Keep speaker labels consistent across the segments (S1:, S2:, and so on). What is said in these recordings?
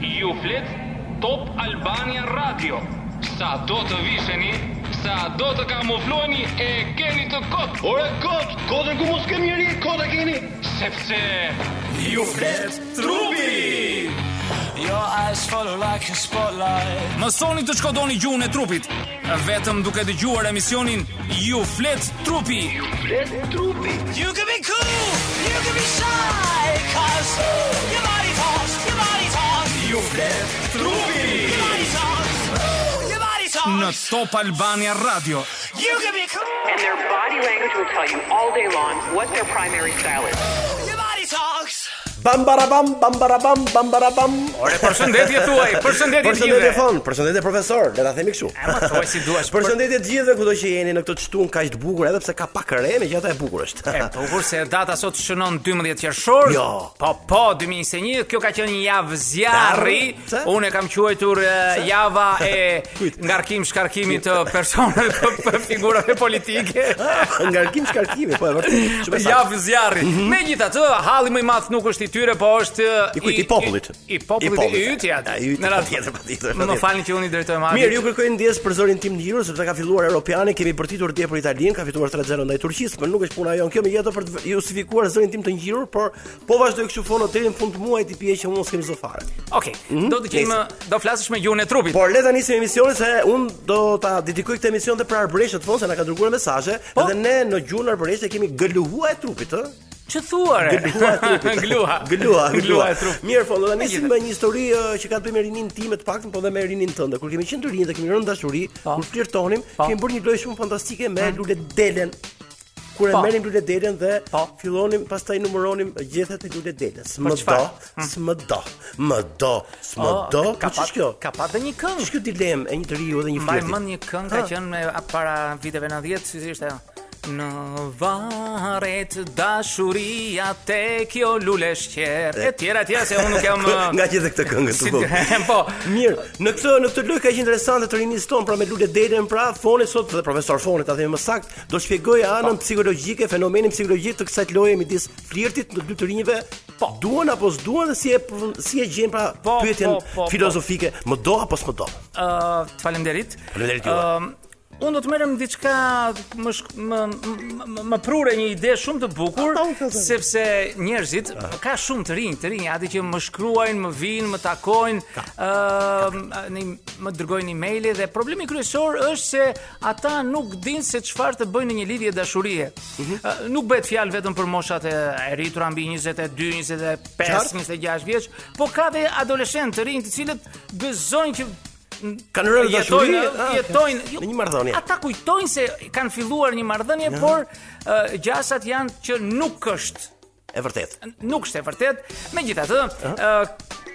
S1: ju flet Top Albania Radio. Sa do të visheni, sa do të kamufloheni e keni të kot,
S2: Ore kot, kotën ku mos kemi njëri, kot e keni.
S1: sepse
S3: You flet trupi
S4: Your eyes follow like a spotlight.
S3: Mësoni të shkodoni gjuhën e trupit Vetëm duke dëgjuar emisionin Ju flet trupi
S4: You can be cool, you can be shy, cause ooh, your body talks, your body talks,
S3: Ju flet trupi
S4: your body talks, ooh, your body
S3: Në
S4: talks.
S3: Top Albania Radio
S4: You can be cool,
S5: And their body language will tell you all day long what their primary style is.
S4: your body talks.
S6: Bam barabam, bam barabam, bam barabam.
S7: Ore, përshëndetje thuaj, përshëndetje të
S6: Përshëndetje
S7: gjithëve.
S6: fon, përshëndetje profesor, le ta themi kështu.
S7: E ma thuaj si duash.
S6: Përshëndetje të gjithëve kudo që jeni në këtë çtun kaq të bukur, edhe pse ka pak re, megjithatë e bukur është.
S7: E bukur se data sot shënon 12 qershor.
S6: Jo.
S7: Po po, 2021, kjo ka qenë një javë zjarri.
S6: Pse?
S7: Unë e kam quajtur e, java e
S6: Kujt?
S7: ngarkim shkarkimit të personave të, të figurave politike.
S6: Ngarkim shkarkimi, po e vërtet. Shumë e saktë. Mhm.
S7: Javë zjarri. Megjithatë, halli më i madh nuk është i tyre, po është
S6: I kujt? I popullit.
S7: I, i popullit i yt ja.
S6: Ai yt,
S7: Në radhë
S6: patjetër, patjetër,
S7: Më
S6: patjetër.
S7: falni që unë i drejtoj madje.
S6: Mirë, ju kërkoj ndjes për zërin tim ndihur sepse ka filluar europiani, kemi përtitur dje për Italinë, ka fituar 3-0 ndaj Turqisë, por nuk është puna jon kjo, megjithatë për të justifikuar zërin tim të ngjirur, por po vazhdoj kështu fon hotelin fund të muajit i pije që unë s'kem zë fare.
S7: Okej, do të kemi do flasësh me gjuhën e trupit.
S6: Mhm. Por le ta nisim emisionin se un do ta dedikoj këtë emision edhe për arbreshët fon se na ka dërguar mesazhe
S7: Po?
S6: dhe ne në gjuhën arbëreshe kemi gëluhua e trupit, ë?
S7: Që thuare?
S6: Gëluha e trupit.
S7: Gëluha.
S6: gëluha, gëluha
S7: e trupit.
S6: Mirë, fond, do ta nisim
S7: Megjithatë.
S6: me një histori ë, që ka të bëjë me rinin tim të paktën, po dhe me rinin tënde. Kur kemi qenë të rinj dhe kemi rënë dashuri,
S7: Po.
S6: kur flirtonim,
S7: Po. Mm.
S6: kemi bërë një lojë shumë fantastike me lule-delen. Kur e
S7: Po.
S6: merrim lule-delen dhe
S7: Po.
S6: fillonim pastaj numëronim gjethet e lule-delës. Më do,
S7: çfarë?
S6: s'më do, më do, s'më
S7: Oh,
S6: do.
S7: ka
S6: Po ç'është
S7: pat-
S6: kjo?
S7: Ka pat dhe një këngë.
S6: Ç'është kjo dilemë e një të riu dhe një
S7: Mbaj
S6: flirti?
S7: mend një këngë ka
S6: Ha.
S7: qenë me a- para viteve 90, si ishte ajo. Në varet dashuria te kjo lule shqer E tjera, tjera, se unë nuk jam ë,
S6: Nga që dhe këtë këngë të
S7: si-
S6: bëmë.
S7: Po,
S6: Mirë, në këtë në këtë lojë kaq interesante të rinis ton pra me lule delen pra Foni sot dhe profesor Foni ta themi më sakt, do shpjegoj anën psikologjike, fenomenin psikologjik të kësaj loje midis flirtit në dy të rinjve. Po, duan apo s'duan dhe si e përfund- si e gjen pra
S7: Po,
S6: pyetjen
S7: po, po, po.
S6: filozofike, më do apo s'më do?
S7: ë, të falemderit
S6: Faleminderit juve.
S7: Ë, Unë do të merrem diçka më shk- më më- më- më prure një ide shumë të bukur
S6: Ata u thosën.
S7: sepse njerëzit
S6: Ah.
S7: ka shumë të rinj, të rinj, ati që më shkruajnë, më vinë, më takojnë, ë ne më dërgojnë emaile dhe problemi kryesor është se ata nuk dinë se çfarë të bëjnë në një lidhje dashurie.
S6: Mhm.
S7: Ë, Nuk bëhet fjalë vetëm për moshat e e rritura mbi 22, 25,
S6: Qartë?
S7: 26 vjeç, po ka dhe adoleshent të rinj të cilët gëzojnë që
S6: Kanë rënë dashuri,
S7: jetojnë,
S6: ah,
S7: jetojnë Jo,
S6: në një marrëdhënie.
S7: Ata kujtojnë se kanë filluar një marrëdhënie, por uh, gjasat janë që nuk është
S6: E vërtet.
S7: nuk është e vërtet. Megjithatë, ë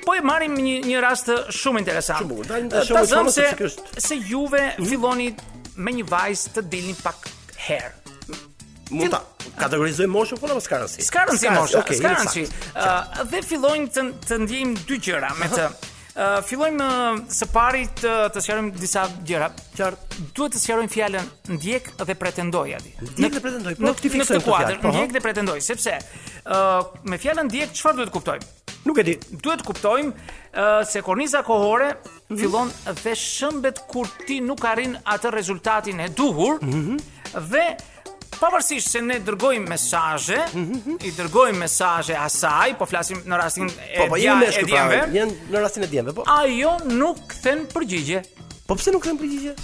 S7: po e marrim një një rast shumë interesant.
S6: Ah. Shumë bukur. Dalim
S7: Ë,
S6: të shohim
S7: Ta
S6: më
S7: zëm
S6: shumë Mhm.
S7: se
S6: sepse ky është-
S7: se juve filloni me një vajzë të dilni pak herë.
S6: Mund ta kategorizoj moshën po apo s'ka rëndsi?
S7: S'ka rëndsi mosha,
S6: okej,
S7: s'ka
S6: jemi
S7: rëndsi.
S6: sakt.
S7: Ë, Dhe fillojmë të të ndjejmë dy gjëra me të. Ë, Fillojmë ë, së pari të të sqarojmë disa gjëra. Qartë, duhet të sqarojmë fjalën ndjek dhe pretendoj aty.
S6: Ndjek dhe pretendoj, po,
S7: Në
S6: ti
S7: në
S6: fiksojmë
S7: këtë
S6: këtë
S7: kuadër,
S6: fjalë, po, ha.
S7: ndjek dhe pretendoj, sepse ë me fjalën ndjek çfarë duhet të kuptojmë?
S6: Nuk e di.
S7: duhet të kuptojmë ë, se korniza kohore
S6: Mhm.
S7: fillon dhe shëmbet kur ti nuk arrin atë rezultatin e duhur
S6: Mhm.
S7: dhe pavarësisht se ne dërgojmë mesazhe,
S6: Mhm.
S7: i dërgojmë mesazhe asaj, po flasim në rastin e
S6: Po po
S7: dja-
S6: jemi
S7: e
S6: meshkuj pra.
S7: djemve, Ah.
S6: Janë në rastin e djemve, po.
S7: ajo nuk kthen përgjigje.
S6: Po pse nuk kanë përgjigje?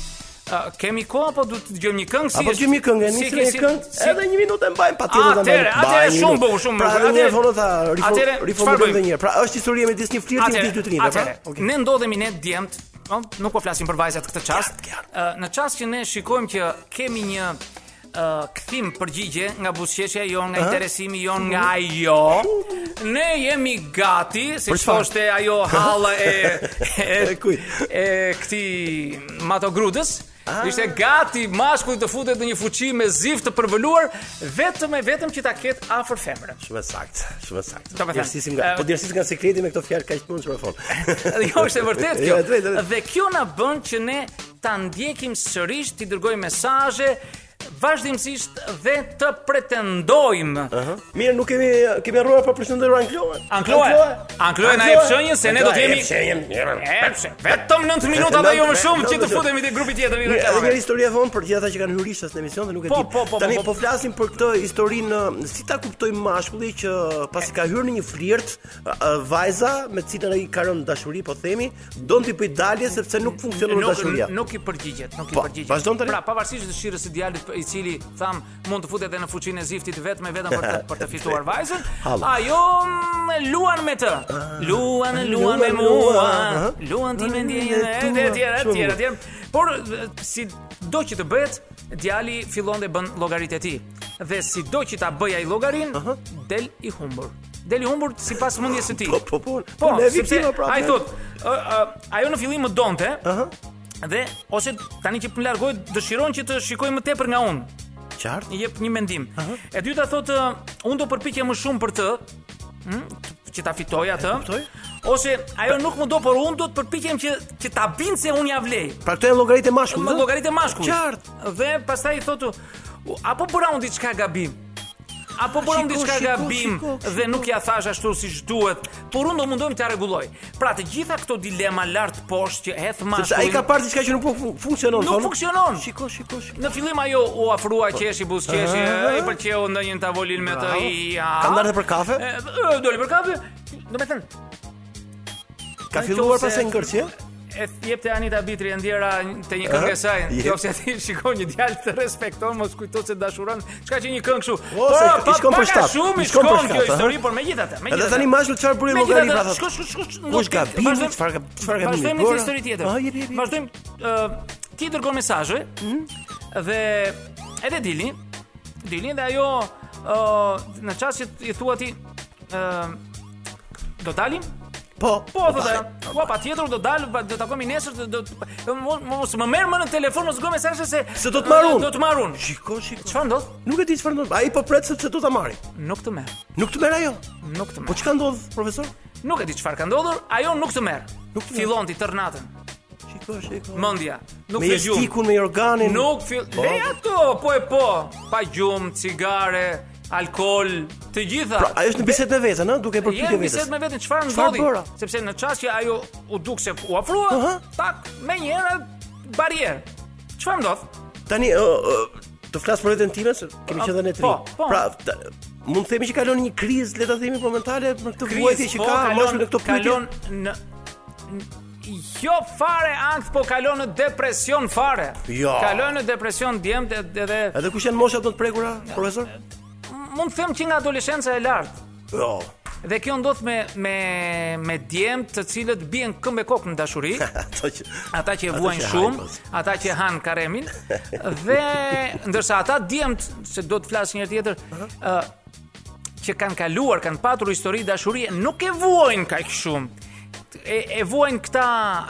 S7: Ë, kemi kohë apo duhet të dëgjojmë një këngë si
S6: Apo
S7: është-
S6: gjë mi këngë,
S7: si-
S6: nisi një
S7: si-
S6: këngë,
S7: si-
S6: edhe një minutë e mbajmë patjetër ta
S7: Atëre,
S6: mbajmë.
S7: atëre,
S6: Mbajmë një
S7: shumë
S6: minutë.
S7: bukur, shumë
S6: pra,
S7: bukur.
S6: edhe një
S7: Atëre,
S6: herë fono ta
S7: atëre,
S6: rifor-
S7: çfarë
S6: riformulojmë
S7: bëjmë?
S6: edhe një herë. Pra, është historia midis një flirti
S7: Atëherë,
S6: midis dy të rinjve, pra.
S7: atëherë,
S6: Okej.
S7: Ne ndodhemi ne djemt, ëh, nuk po flasim për vajzat këtë çast.
S6: Qartë, qartë.
S7: Ë, Në çast që ne shikojmë që kemi një uh, kthim përgjigje nga buzëqeshja jon, nga interesimi jon, nga ajo. Ne jemi gati, si
S6: Për çfarë?
S7: thoshte ajo halla e e,
S6: E kujt?
S7: e këtij Matogrudës.
S6: Ah.
S7: Ishte gati mashkulli të futet në një fuqi me zif të përvëluar vetëm e vetëm që ta ketë afër femrës.
S6: Shumë e saktë, shumë e saktë.
S7: Do me thënë,
S6: Djersisim nga,
S7: e-
S6: po djersisim nga sekreti me këto fjalë kaq punë çfarë fon.
S7: Jo, është e vërtet kjo.
S6: Jo, e drejtë, e drejtë.
S7: Dhe kjo na bën që ne ta ndjekim sërish, ti dërgoj mesazhe vazhdimsisht dhe të pretendojmë.
S6: Mirë, nuk kemi kemi harruar pa përshëndetur Ankloe.
S7: Ankloe, Ankloe na jep shenjën se ne do të jemi
S6: jemi
S7: Epse, vetëm 9 minuta dhe jo më shumë që të futemi te grupi tjetër i
S6: Edhe një
S7: reklamave.
S6: histori e vonë për gjithë ata që kanë hyrë ishtas në emision dhe nuk e
S7: Po,
S6: di.
S7: po, po,
S6: Tani
S7: po,
S6: po,
S7: po.
S6: flasim për këtë historinë ë, si ta kuptoj mashkulli që pasi ka hyrë në një flirt ë, ë, vajza me cilën ai ka rënë dashuri, po themi, don t'i bëj dalje sepse nuk funksionon
S7: Nuk
S6: dashuria.
S7: nuk i përgjigjet, nuk i
S6: Po,
S7: përgjigjet.
S6: vazhdon tani?
S7: Pra, pavarësisht dëshirës së djalit për- i cili tham mund të futet edhe në fuqinë e ziftit vetëm e vetëm për të për të fituar vajzën,
S6: Halla.
S7: ajo mm, luan me të. Luan, luan me mua.
S6: Ah, luan, aha. Ah,
S7: Luan ti me ndjenjën
S6: Luan me
S7: e
S6: tua.
S7: etj,
S6: Shumë
S7: etj,
S6: mirë.
S7: etj. Por e, si do që të bëhet, djali fillon dhe bën llogaritë e tij. Dhe si do që ta bëj ai llogarin, del i humbur. Del i humbur sipas mundjes së tij.
S6: Po, po, po.
S7: Po,
S6: ne
S7: sepse
S6: viktima prapë.
S7: ai thot, "Ë, ë, ajo në fillim më donte,
S6: Aha,
S7: Dhe ose tani që më largoj dëshiron që të shikoj më tepër nga unë.
S6: qartë.
S7: I jep një mendim. E dyta thotë unë do përpiqem më shumë për të, hm, që ta fitoj atë.
S6: kuptoj.
S7: Ose ajo nuk më do, por unë do të përpiqem që që ta bind se unë ja vlej.
S6: Pra këto janë llogaritë e mashkullit.
S7: Më
S6: ë?
S7: llogaritë Po, e mashkullit.
S6: Qartë.
S7: Dhe pastaj i thotë "U, apo bëra unë diçka gabim. Apo bëra unë
S6: Shiko,
S7: diçka
S6: shiko,
S7: gabim
S6: shiko, shiko.
S7: dhe nuk ja thash ashtu siç duhet, por unë do mundohem ta rregulloj. Pra të gjitha këto dilema lart poshtë që heth
S6: Sepse
S7: mashkullin.
S6: ai ka parë diçka që nuk po fun- funksionon.
S7: Nuk
S6: thonë.
S7: funksionon.
S6: Shiko, shiko, shiko.
S7: Në fillim ajo u afrua qeshi buz qeshi,
S6: Aha.
S7: i pëlqeu ndonjë në tavolinë me të i.
S6: Ka ndarë për kafe?
S7: Doli për kafe. Do të thënë,
S6: Ka
S7: Në
S6: filluar
S7: qoftë se-
S6: pasaj ngërçje?
S7: e jepte Anita Bitri e ndjera te një këngë e
S6: Aha,
S7: saj.
S6: jep.
S7: Jo se ti shikon një djalë të respekton, mos kujto se dashuron. Çka që një këngë kështu.
S6: O, Po, se i shkon për shtat,
S7: Shumë
S6: i
S7: i
S6: shkon për
S7: shkon kjo
S6: shtat, aha.
S7: histori, por megjithatë,
S6: Edhe tani
S7: megjithatë.
S6: mashkull çfarë bëri llogari pra
S7: Megjithatë,
S6: thotë.
S7: shko, shko, shko, shko.
S6: Kush gabimi,
S7: vazhdojmë-
S6: çfarë ka- çfarë gabimi
S7: Vazhdojmë një
S6: bëra?
S7: histori tjetër.
S6: Ah, jepi, jepi.
S7: Vazhdojmë ë ti dërgon mesazhe,
S6: Mhm.
S7: dhe edhe dili, dili dhe ajo ë në çast që i thua ti ë do dalim?
S6: Po.
S7: Po, do ta. Po, patjetër do dal, pa- do takohemi nesër, do- do mos- mos më merr më në telefon, mos dërgoj mesazhe se
S6: Se do të marr unë.
S7: Do të marr unë.
S6: Shiko, shiko.
S7: Çfarë ndodh?
S6: Nuk e di çfarë ndodh. Ai po pret sepse do ta marrë.
S7: Nuk të merr.
S6: Nuk të merr ajo.
S7: Nuk të merr.
S6: Po çka ndodh, profesor?
S7: Nuk e di çfarë ka ndodhur, ajo nuk të merr.
S6: Nuk të merr.
S7: Fillon ti tër natën.
S6: Shiko, shiko.
S7: Mendja, nuk
S6: me
S7: të gjumë.
S6: gestikun, me organin.
S7: Nuk fill.
S6: Po,
S7: Le
S6: po.
S7: ato, po e po. Pa gjumë, cigare, alkool, të gjitha.
S6: Pra, ajo është në bisedë me veten, ëh, duke
S7: Je
S6: përpiqur
S7: në bisedë
S6: vetes.
S7: me veten çfarë
S6: Çfarë
S7: ndodhi?
S6: bëra?
S7: Sepse në çast që ajo u duk se u afrua,
S6: Aha.
S7: tak menjëherë barrierë. Çfarë ndodh?
S6: Tani ë ë, të flas për veten time se kemi
S7: Po,
S6: qenë dhe ne tri.
S7: po, po.
S6: Pra, ta- mund të themi që kalon një krizë, le ta themi momentale për këtë vuajtje që
S7: po,
S6: ka
S7: kalon-
S6: mos në këto pyetje.
S7: Kalon në Jo fare ankth, po kalon në depresion fare.
S6: Jo.
S7: Kalon në depresion djemt edhe edhe-
S6: Edhe kush janë moshat më të prekura, profesor?
S7: mund të them që nga adoleshenca e lartë.
S6: Jo.
S7: Dhe kjo ndodh me me me djemt të cilët bien këmbë e kokë në dashuri,
S6: Ato që
S7: ata që e
S6: Ata
S7: vuajnë
S6: që
S7: shumë,
S6: hajnë, po.
S7: ata që han karemin dhe ndërsa ata djemt se do të flas një herë tjetër, ë që kanë kaluar, kanë patur histori dashurie, nuk e vuajnë kaq shumë. E, e vuajnë këta ë,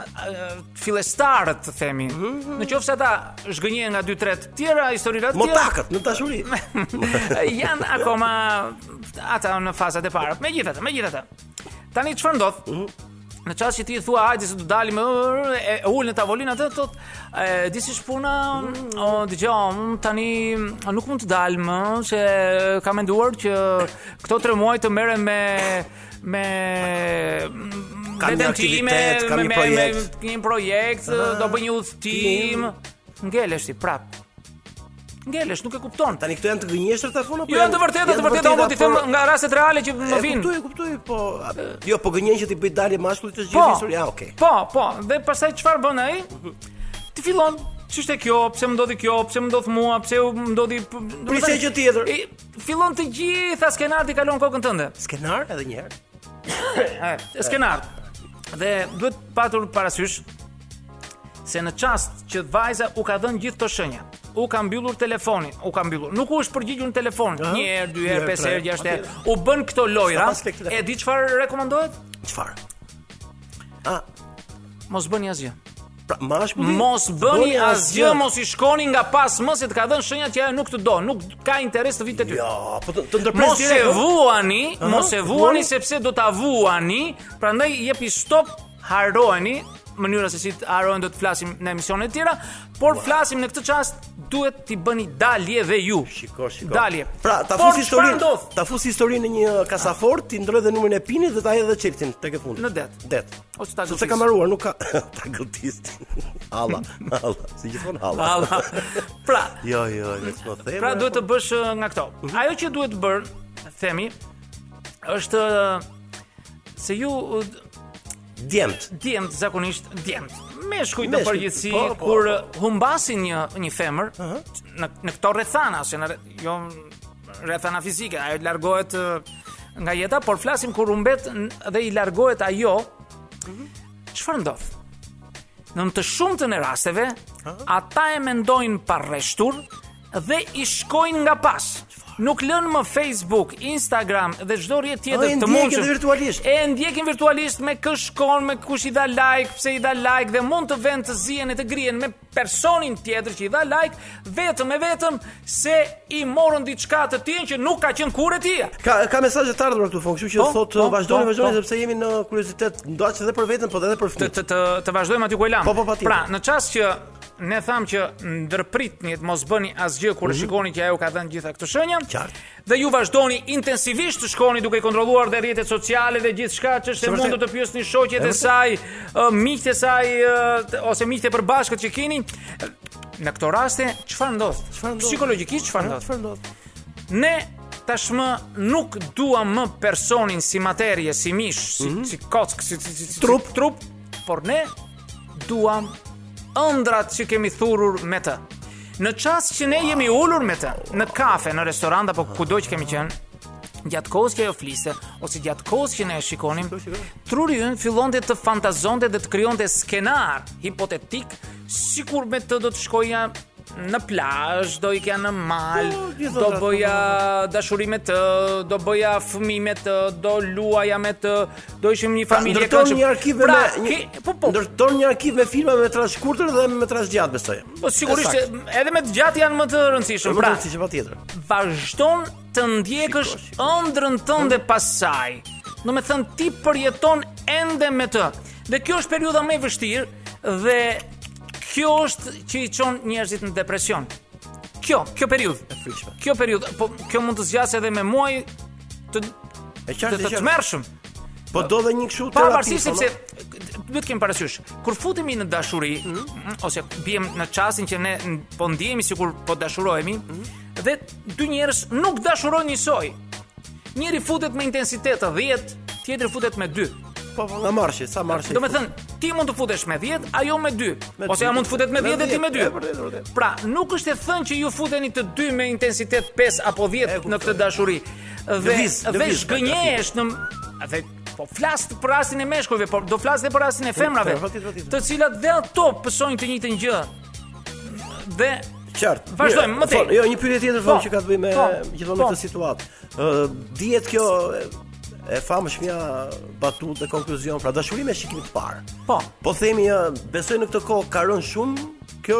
S7: fillestarët, të themi. Në qoftë se ata zhgënjehen nga 2-3 të tjera historira të tjera,
S6: motakët në dashuri.
S7: janë akoma ata në fazat e para. Megjithatë, megjithatë. Tani çfarë ndodh?
S6: Mhm.
S7: Në çast që ti i thua hajde se do dalim ë, e, e ul në tavolinë atë thot e di si shpuna
S6: Mhm.
S7: o dëgjoj unë tani a, nuk mund të dal më se kam menduar që këto 3 muaj të merrem me me
S6: Kam një
S7: veten time,
S6: aktivitet, kam
S7: me-
S6: një
S7: me-
S6: projekt.
S7: me një projekt, do bëj një udhëtim.
S6: Mhm.
S7: Ngelesh ti prap. Ngelesh, nuk e kupton.
S6: Tani këto janë të gënjeshtër ta fona.
S7: Jo, janë të vërteta, të vërteta, unë po t'i them nga rastet reale që më
S6: E
S7: vinë.
S6: kuptoj, e kuptoj, po a- jo, po gënjen që ti bëj dalje mashkullit është
S7: Po.
S6: gjithë historia. Ah, okay.
S7: Po, po, dhe pastaj çfarë bën ai? Ti fillon Ç'ishte kjo? Pse më ndodhi kjo? Pse më ndodh mua? Pse u më ndodhi
S6: Prisej gjë tjetër.
S7: I- Fillon të gjitha skenarët i kalon kokën tënde.
S6: Skenar edhe një herë.
S7: E, skenar. Dhe duhet patur parasysh se në çast që vajza u ka dhënë gjithë këto shenja, u ka mbyllur telefonin, u ka mbyllur. Nuk u është përgjigjur në telefon.
S6: Aha.
S7: Një herë, dy
S6: Një
S7: herë,
S6: herë,
S7: pesë
S6: tre
S7: herë,
S6: herë,
S7: gjashtë herë.
S6: patjetër.
S7: U bën këto lojra.
S6: Sa pas tek telefon.
S7: E di çfarë rekomandohet?
S6: Çfarë? Ah,
S7: Mos bëni asgjë.
S6: pra mashkulli.
S7: Mos bëni asgjë, mos i shkoni nga pas më se të ka dhënë shenjat që ajo nuk të do, nuk ka interes të vitë ty.
S6: Jo, po të, të ndërpres
S7: Mos e
S6: direkt, po. ëh?
S7: vuani,
S6: Aha,
S7: mos e vuani
S6: vuani.
S7: sepse do ta vuani, prandaj jepi stop, haroheni, mënyra se si të harojnë do të flasim në emisione të tjera, por flasim në këtë çast duhet t'i bëni dalje dhe ju.
S6: Shiko, shiko.
S7: Dalje.
S6: Pra, ta
S7: Por çfarë
S6: fus historinë,
S7: ndodh?
S6: ta fus historinë në një kasafort, ti ndroj dhe numrin e pinit dhe ta hedh dhe çeltin tek e fundit.
S7: Në det.
S6: Det.
S7: Ose ta
S6: Sepse
S7: gëtis.
S6: ka marruar, nuk ka ta gëtis. Alla, alla, si gjithmonë alla.
S7: Alla. Pra,
S6: Jo, jo, jo, s'po them.
S7: pra duhet të bësh ë, nga këto.
S6: Mhm.
S7: Ajo që duhet të bër, themi, është ë, se ju ë,
S6: djemt.
S7: djemt zakonisht djemt. Meshkujt në
S6: Meshkujt,
S7: përgjithësi
S6: po, po, Mhm.
S7: kur humbasin një një femër në në këto rrethana, se në rreth- jo rrethana fizike, ajo largohet ë, nga jeta, por flasim kur humbet n- dhe i largohet ajo. Çfarë ndodh? Në të shumtën e rasteve, ata e mendojnë pa rreshtur dhe i shkojnë nga pas. Nuk lënë më Facebook, Instagram dhe çdo rrjet
S6: e
S7: tjetër të
S6: ndjekin
S7: mundshëm.
S6: dhe virtualisht.
S7: E ndjekin virtualisht me kë shkon, me kush i dha like, pse i dha like dhe mund të vend të zihen e të grihen me personin tjetër që i dha like, vetëm e vetëm se i morën diçka të tij që nuk ka qenë kur e tij.
S6: Ka ka mesazhe të ardhura këtu fon, kështu që
S7: Po,
S6: thotë
S7: po,
S6: vazhdoni,
S7: po,
S6: vazhdoni
S7: po.
S6: sepse jemi në kuriozitet, ndoshta edhe për veten, por edhe
S7: të
S6: për fëmijët.
S7: të të, të vazhdojmë aty ku e lam.
S6: Po, po, patjetër.
S7: pra, në çast që ne tham që ndërpritnit mos bëni asgjë kur e shikoni që ajo ka dhënë gjitha këto shenja.
S6: Mhm. Qartë.
S7: Dhe ju vazhdoni intensivisht të shkoni duke i kontrolluar dhe rrjetet sociale dhe gjithçka që është e
S6: vërtet.
S7: mundur të pyesni shoqjet e saj, ë, miqtë e saj ë, t- ose miqtë e përbashkët që keni. Në këto raste çfarë ndodh?
S6: Çfarë ndodh?
S7: Psikologjikisht çfarë ndodh?
S6: Çfarë ndodh?
S7: ne tashmë nuk dua më personin si materie, si mish, si, si kock, si, si, si, si
S6: Mhm. Trup.
S7: si trup, por ne duam ëndrat që kemi thurur me të. Në çast që ne jemi ulur me të, në kafe, në restorant apo kudo që kemi qenë, gjatë kohës që ajo fliste ose gjatë kohës që ne e shikonim, truri ynë fillonte të fantazonte dhe të krijonte skenar hipotetik, sikur me të do të shkoja në plazh, do ikja në mal,
S6: Po, gjithë
S7: do
S6: ato.
S7: bëja dashuri me të, do bëja fëmijë me të, do luaja me të, do ishim një familje
S6: Ndërton
S7: këndshëm.
S6: një arkiv
S7: pra,
S6: me
S7: ke, po po,
S6: Ndërton një arkiv me filma me trazh shkurtër dhe me trazh gjatë besoj.
S7: po sigurisht
S6: Ësakt.
S7: që edhe me të gjatë janë më të
S6: Më
S7: rëndësishëm.
S6: pra,
S7: Pra,
S6: si që patjetër.
S7: vazhdon të ndjekësh ëndrën tënde pasaj. Do me thënë ti përjeton ende me të. Dhe kjo është periudha më e vështirë dhe kjo është që i çon njerëzit në depresion. Kjo, kjo periudhë.
S6: frikshme.
S7: Kjo periudhë, po kjo mund të zgjasë edhe me muaj të
S6: E
S7: të të
S6: qartë, e qartë.
S7: tmerrshëm.
S6: Po do dhe një kështu
S7: Pavarësisht
S6: po, no?
S7: sepse duhet kemi parasysh, kur futemi në dashuri mm, ose biem në çastin që ne n- po ndihemi sikur po dashurohemi, dhe dy njerëz nuk dashurojnë njësoj. Njëri futet me intensitet të 10, tjetri futet me 2.
S6: po po nga marshi, sa marshi.
S7: Do me thënë, ti mund të futesh me 10, ajo me 2.
S6: Me
S7: ose
S6: dy.
S7: ja mund të futet me
S6: Me jo,
S7: 10 dhe ti me 2.
S6: 10, e vërtet, e vërtet.
S7: Pra, nuk është e thënë që ju futeni të dy me intensitet 5 apo 10 në këtë dashuri. Dhe
S6: Lëviz,
S7: dhe
S6: lëviz,
S7: zhgënjehesh në dhe po flas për rastin e meshkujve, por do flas dhe për rastin e femrave,
S6: vërtet, vërtet.
S7: të cilat dhe ato pësojnë të njëjtën gjë. Dhe
S6: Qartë.
S7: Vazhdojmë,
S6: Mirë,
S7: më tej.
S6: fol- Jo, një pyetje tjetër fon
S7: Po,
S6: që ka të bëjë me
S7: po,
S6: gjithmonë
S7: po.
S6: me këtë situatë. Ë dihet kjo e, e famshmja batutë dhe konkluzion, pra dashuri me shikim të parë.
S7: Po.
S6: Po themi, ë, besoj në këtë kohë ka rënë shumë kjo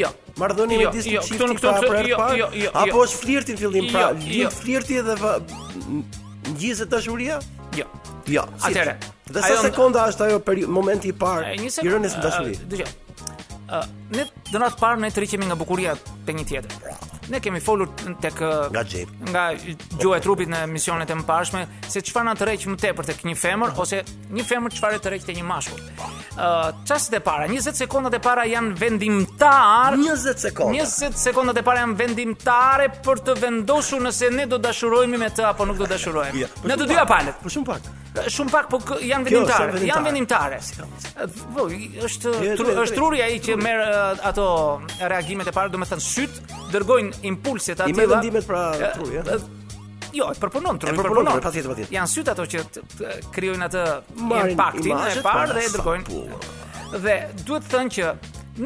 S7: jo.
S6: Marrëdhënia
S7: Jo,
S6: me disë
S7: jo,
S6: të
S7: këtu
S6: çifti
S7: nuk- këtu
S6: pa
S7: nuk-
S6: për herë
S7: jo,
S6: të parë,
S7: jo, jo,
S6: apo
S7: jo.
S6: është flirti në fillim, pra
S7: Jo, jo.
S6: lidh flirti dhe va- n- ngjizet dashuria?
S7: Jo.
S6: Jo. si-
S7: Atëre,
S6: Dhe sa
S7: ajo-
S6: sekonda është ajo peri- momenti i parë
S7: E, Një
S6: i
S7: sekond.
S6: rënjes në dashuri?
S7: Ë, Dëgjoj. Ë, ne do të parë ne të rriqemi nga bukuria te një tjetër. Ne kemi folur t- tek ë,
S6: Nga xhepi.
S7: Nga gjuha e trupit në misionet e mëparshme se çfarë na tërheq më tepër tek një femër ose një femër çfarë e tërheq te një mashkull. Ë, çastet e para, 20 sekondat e para janë vendimtar.
S6: 20 sekonda.
S7: 20 sekondat e para janë vendimtare për të vendosur nëse ne do dashurohemi me të apo nuk do dashurohemi.
S6: Ja, për
S7: Në
S6: shumë
S7: të dyja
S6: pak,
S7: palët.
S6: Jo. Për shumë pak.
S7: Shumë pak, po kë- janë
S6: Kjo është,
S7: vendimtare. Janë
S6: janë
S7: vendimtare.
S6: vendimtare.
S7: Po, i- është
S6: Je,
S7: tru,
S6: drejt,
S7: është
S6: drejt.
S7: truri ai që merr eh, ato reagimet e para, domethënë syt, dërgojnë impulset aty.
S6: I merr vendimet pra truri, ja?
S7: Jo, e përpunon truri,
S6: E
S7: e
S6: përpunon,
S7: përpunon.
S6: e, patjetër, patjetër.
S7: Janë syt ato që t- t- krijojnë atë
S6: Marrin
S7: impaktin e
S6: imazhet,
S7: parë
S6: pra,
S7: dhe e
S6: sa
S7: dërgojnë.
S6: bukur.
S7: Dhe duhet të thënë që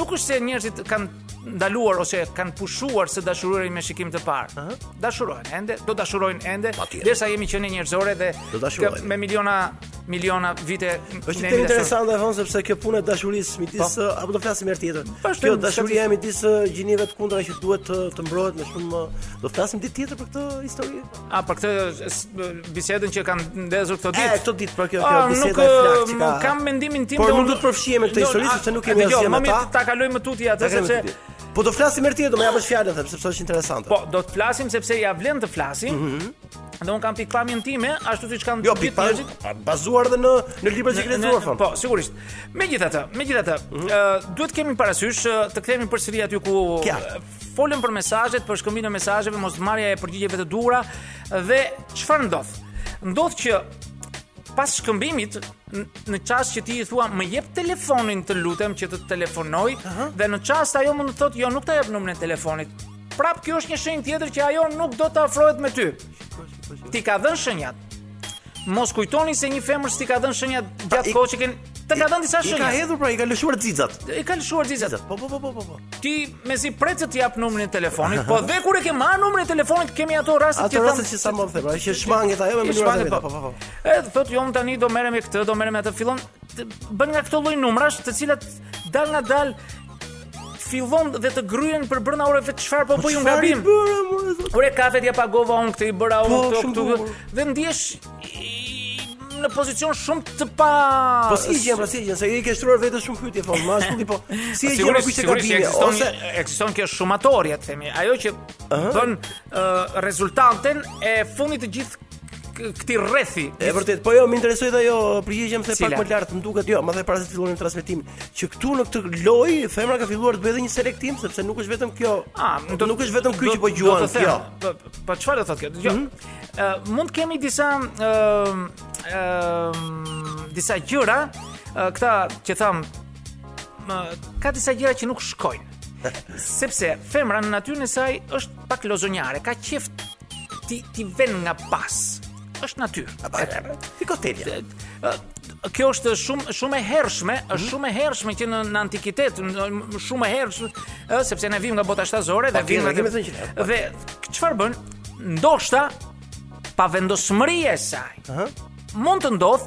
S7: nuk është se njerëzit kanë ndaluar ose kanë pushuar se dashurohen me shikim të parë. Dashurohen ende, do dashurojnë ende,
S6: Patjetër.
S7: derisa jemi qenie njerëzore dhe
S6: Do dashurojnë.
S7: me miliona miliona vite.
S6: Është
S7: ne
S6: një
S7: ndashur.
S6: temë interesante e fon sepse kjo punë e dashurisë midis
S7: Po.
S6: ë, apo do flasim herë tjetër.
S7: Vazhdojmë,
S6: Kjo dashuria e midis ë, gjinive të kundra që duhet të, të mbrohet me shumë ë, do flasim ditë tjetër për këtë histori.
S7: A për këtë s- bisedën që kanë ndezur këto ditë.
S6: E, këto ditë, pra, kjo-
S7: A,
S6: kjo biseda
S7: nuk,
S6: e flak që
S7: m-
S6: ka-
S7: Kam mendimin tim.
S6: Por
S7: do-
S6: nuk do të përfshihemi me këtë
S7: do-
S6: histori,
S7: a-
S6: sepse nuk
S7: a,
S6: kemi
S7: dëgjoj,
S6: asgjë me
S7: më mirë
S6: ta.
S7: ta kaloj më tutje atë
S6: Ta kemi
S7: sepse
S6: këtë ditë. Po do flasim herë tjetër, më japësh fjalën thëmë, sepse është interesante.
S7: po do të flasim sepse ja vlen të flasim. Dhe un kam pikpamjen time, ashtu siç kanë
S6: Mhm. jo,
S7: të
S6: pikë pa bazuar edhe në në libra që ke
S7: Në-
S6: lexuar
S7: në-
S6: fon.
S7: Po, sigurisht. Megjithatë, megjithatë, ë, duhet kemi parasysh ë, të kthehemi përsëri aty ku
S6: Qartë.
S7: ë, folëm për mesazhet, për shkëmbimin e mesazheve, mosmarrja e përgjigjeve të duhura dhe çfarë ndodh? Ndodh që pas shkëmbimit n- në çast që ti i thua më jep telefonin të lutem që të telefonoj dhe në çast ajo mund të thotë jo nuk ta jep numrin e telefonit. Prap kjo është një shenjë tjetër që ajo nuk do të afrohet me ty. Ti ka dhënë shenjat. Mos kujtoni se një femër s'ti ka dhënë shenjat gjatë
S6: i-
S7: kohës që kanë të ka dhënë disa
S6: I ka
S7: shenjat.
S6: hedhur pra, i ka lëshuar xixat.
S7: I ka lëshuar disa.
S6: Po po po po po. po.
S7: Ti mezi pret se ti jap numrin e telefonit, po dhe kur e ke marrë numrin e telefonit kemi ato raste
S6: Ato raste që sa më the, pra, që shmanget ajo me
S7: I
S6: mënyrë
S7: shmanget,
S6: të
S7: po.
S6: vetë. Po po po.
S7: Edhe thotë jo, unë tani do merrem me këtë, do merrem me atë, fillon të bën nga këto lloj numrash, të cilat dal nga dal fillon dhe të gryen për brenda orëve çfarë po bëj unë
S6: Çfarë i
S7: gabim.
S6: bëra, more, zot?
S7: Ore kafet ja pagova unë këtë i bëra unë
S6: Po,
S7: këto
S6: shumë
S7: këtu
S6: bukur.
S7: dhe ndihesh i- në pozicion shumë të pa
S6: Po si e gjen, po si e gjen, se i ke shtruar vetë shumë pyetje fon, më është fundi po. Si e gjen
S7: Sigurisht,
S6: ku ishte
S7: sigurisht që
S6: gabimi
S7: ekziston
S6: ose
S7: ekziston kjo shumatorja të themi, ajo që bën ë, rezultaten e fundit të gjithë k- këtij rrethi.
S6: E vërtet, po jo, më interesoi dhe ajo përgjigjem se pak
S7: Cila?
S6: më lart, më duket jo, më dhe para se të fillonim transmetimin, që këtu në këtë lojë femra ka filluar të bëjë edhe një selektim sepse nuk është vetëm kjo.
S7: Ah, do-
S6: nuk është vetëm
S7: do-
S6: ky që po
S7: do
S6: gjuan Mhm.
S7: të them,
S6: kjo.
S7: po- Po çfarë do thotë kjo? Dgjoj. Ë, mund kemi disa ë ë disa gjëra, ë, këta që tham më, ka disa gjëra që nuk shkojnë. Sepse femra në natyrën e saj është pak lozonjare, ka qeft ti ti vën nga pas. Është natyrë.
S6: Pikotelja.
S7: Ë, kjo është shumë shumë e hershme,
S6: Mhm.
S7: është shumë e hershme që në, në antikitet, në- m- shumë e hershme, ë, sepse ne vim nga bota shtazore dhe vim
S6: tjetër,
S7: nga
S6: kemi thënë që-
S7: Dhe çfarë bën? Ndoshta pa vendosmëria e saj. Mund të ndodh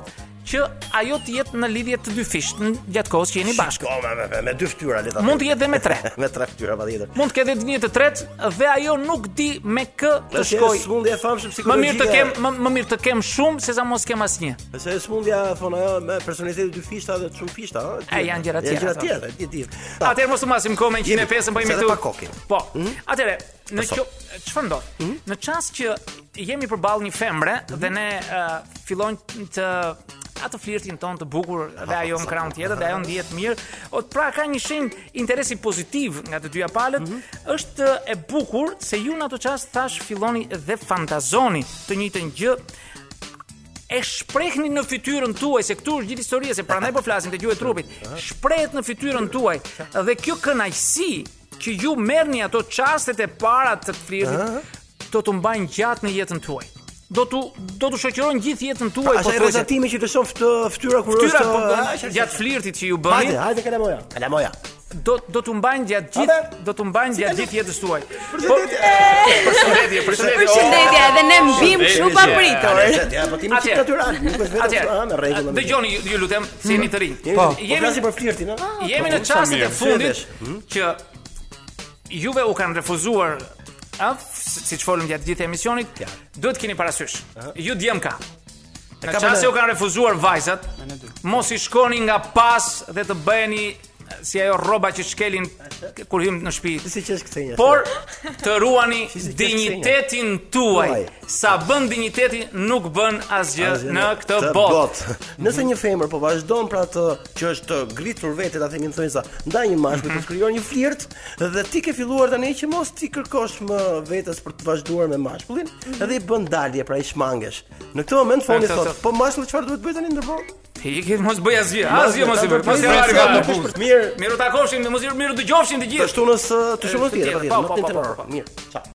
S7: që ajo të jetë në lidhje të dy fisht në gjatë kohës që jeni bashkë.
S6: Shko me, me, me, me dy fytyra le ta.
S7: Mund të
S6: them.
S7: jetë dhe me tre.
S6: me tre fytyra patjetër.
S7: Mund të ketë edhe një të tretë dhe ajo nuk di me kë të
S6: Është një
S7: shkoj.
S6: smundje e famshme
S7: Më
S6: psikologjike.
S7: mirë të kem më, më mirë të kem shumë sesa mos kem asnjë.
S6: Pse e smundja fon ajo me personalitet dy fishta dhe të shumë fishta, ha?
S7: E, janë gjëra tjera,
S6: Gjëra
S7: ato.
S6: tjera, di di.
S7: Atëherë mos të masim kohë me 105 po jemi
S6: se
S7: këtu.
S6: dhe pa kokin. Hmm?
S7: Po. Atëherë, në kjo çfarë ndodh? Në çast që jemi përballë një femre
S6: Hmm?
S7: dhe ne uh, fillojnë të atë flirtin ton të bukur
S6: Ah,
S7: dhe ajo në krahun tjetër dhe ajo ndihet mirë. O pra ka një shenjë interesi pozitiv nga të dyja palët.
S6: Hmm?
S7: Është e bukur se ju në ato çast thash filloni dhe fantazoni të njëjtën gjë e shprehni në fytyrën tuaj se këtu është gjithë historia se prandaj po flasim te gjuhë e trupit. Shprehet në fytyrën tuaj dhe kjo kënaqësi që ju merrni ato çastet e para të flirtit do të mbajnë gjatë në jetën tuaj. Do tu do të shoqërojnë gjithë jetën tuaj
S6: Ashtë e
S7: pothuajse.
S6: rezatimi që lëshon ftë fytyra kur
S7: po Fytyra po
S6: është.
S7: gjatë flirtit që ju
S6: Hajde,
S7: bëni
S6: hajde kalamoja. Kalamoja.
S7: do do t'u mbajnë gjatë gjithë
S6: Abe.
S7: do t'u mbajnë gjatë gjithë jetës tuaj. Po,
S8: Përshëndetje, edhe ne mbim shumë pa pritur.
S6: Ja, po ti më
S7: Atje.
S6: qit natyral, nuk është vetëm ah, me
S7: Atëherë,
S6: rregull.
S7: Po, dëgjoni ju- ju lutem, se jeni të rinj.
S6: Po, po
S7: Jemi
S6: flasim për flirtin, ha?
S7: Jemi në çastet e fundit që juve u kanë refuzuar af siç folëm gjatë gjithë emisionit, duhet keni parasysh. Ju djem ka. Në
S6: ka
S7: çast
S6: përne-
S7: që u kanë refuzuar vajzat, mos i shkoni nga pas dhe të bëheni eh, si ajo rroba që shkelin kur hym në shtëpi.
S6: Si që është këtë një.
S7: Por të ruani
S6: si kjo
S7: dinjitetin tuaj.
S6: Tuaj.
S7: Sa bën dinjiteti nuk bën asgjë në këtë botë.
S6: Nëse një femër po vazhdon pra të që është të ngritur vetë, ta themi në thonjza, ndaj një mashkull të krijon një flirt dhe ti ke filluar tani që mos ti kërkosh më vetes për të vazhduar me mashkullin, edhe i bën dalje, pra i shmangesh. Në këtë moment foni
S7: Në këtë-
S6: thotë, po mashkulli çfarë duhet bëj tani ndërkohë?
S7: Ti ke mos bëj asgjë, asgjë mos i bëj. Mos i
S6: Nuk
S7: rrari.
S6: është për të mirë.
S7: Miru takofshin, mos i miru dëgjofshin të
S6: Të
S7: gjithë.
S6: shtunës, të shtunës
S7: tjetër,
S6: tjetër,
S7: po,
S6: patjetër,
S7: po,
S6: në
S7: po, po,
S6: të
S7: po.
S6: Mirë. Ciao.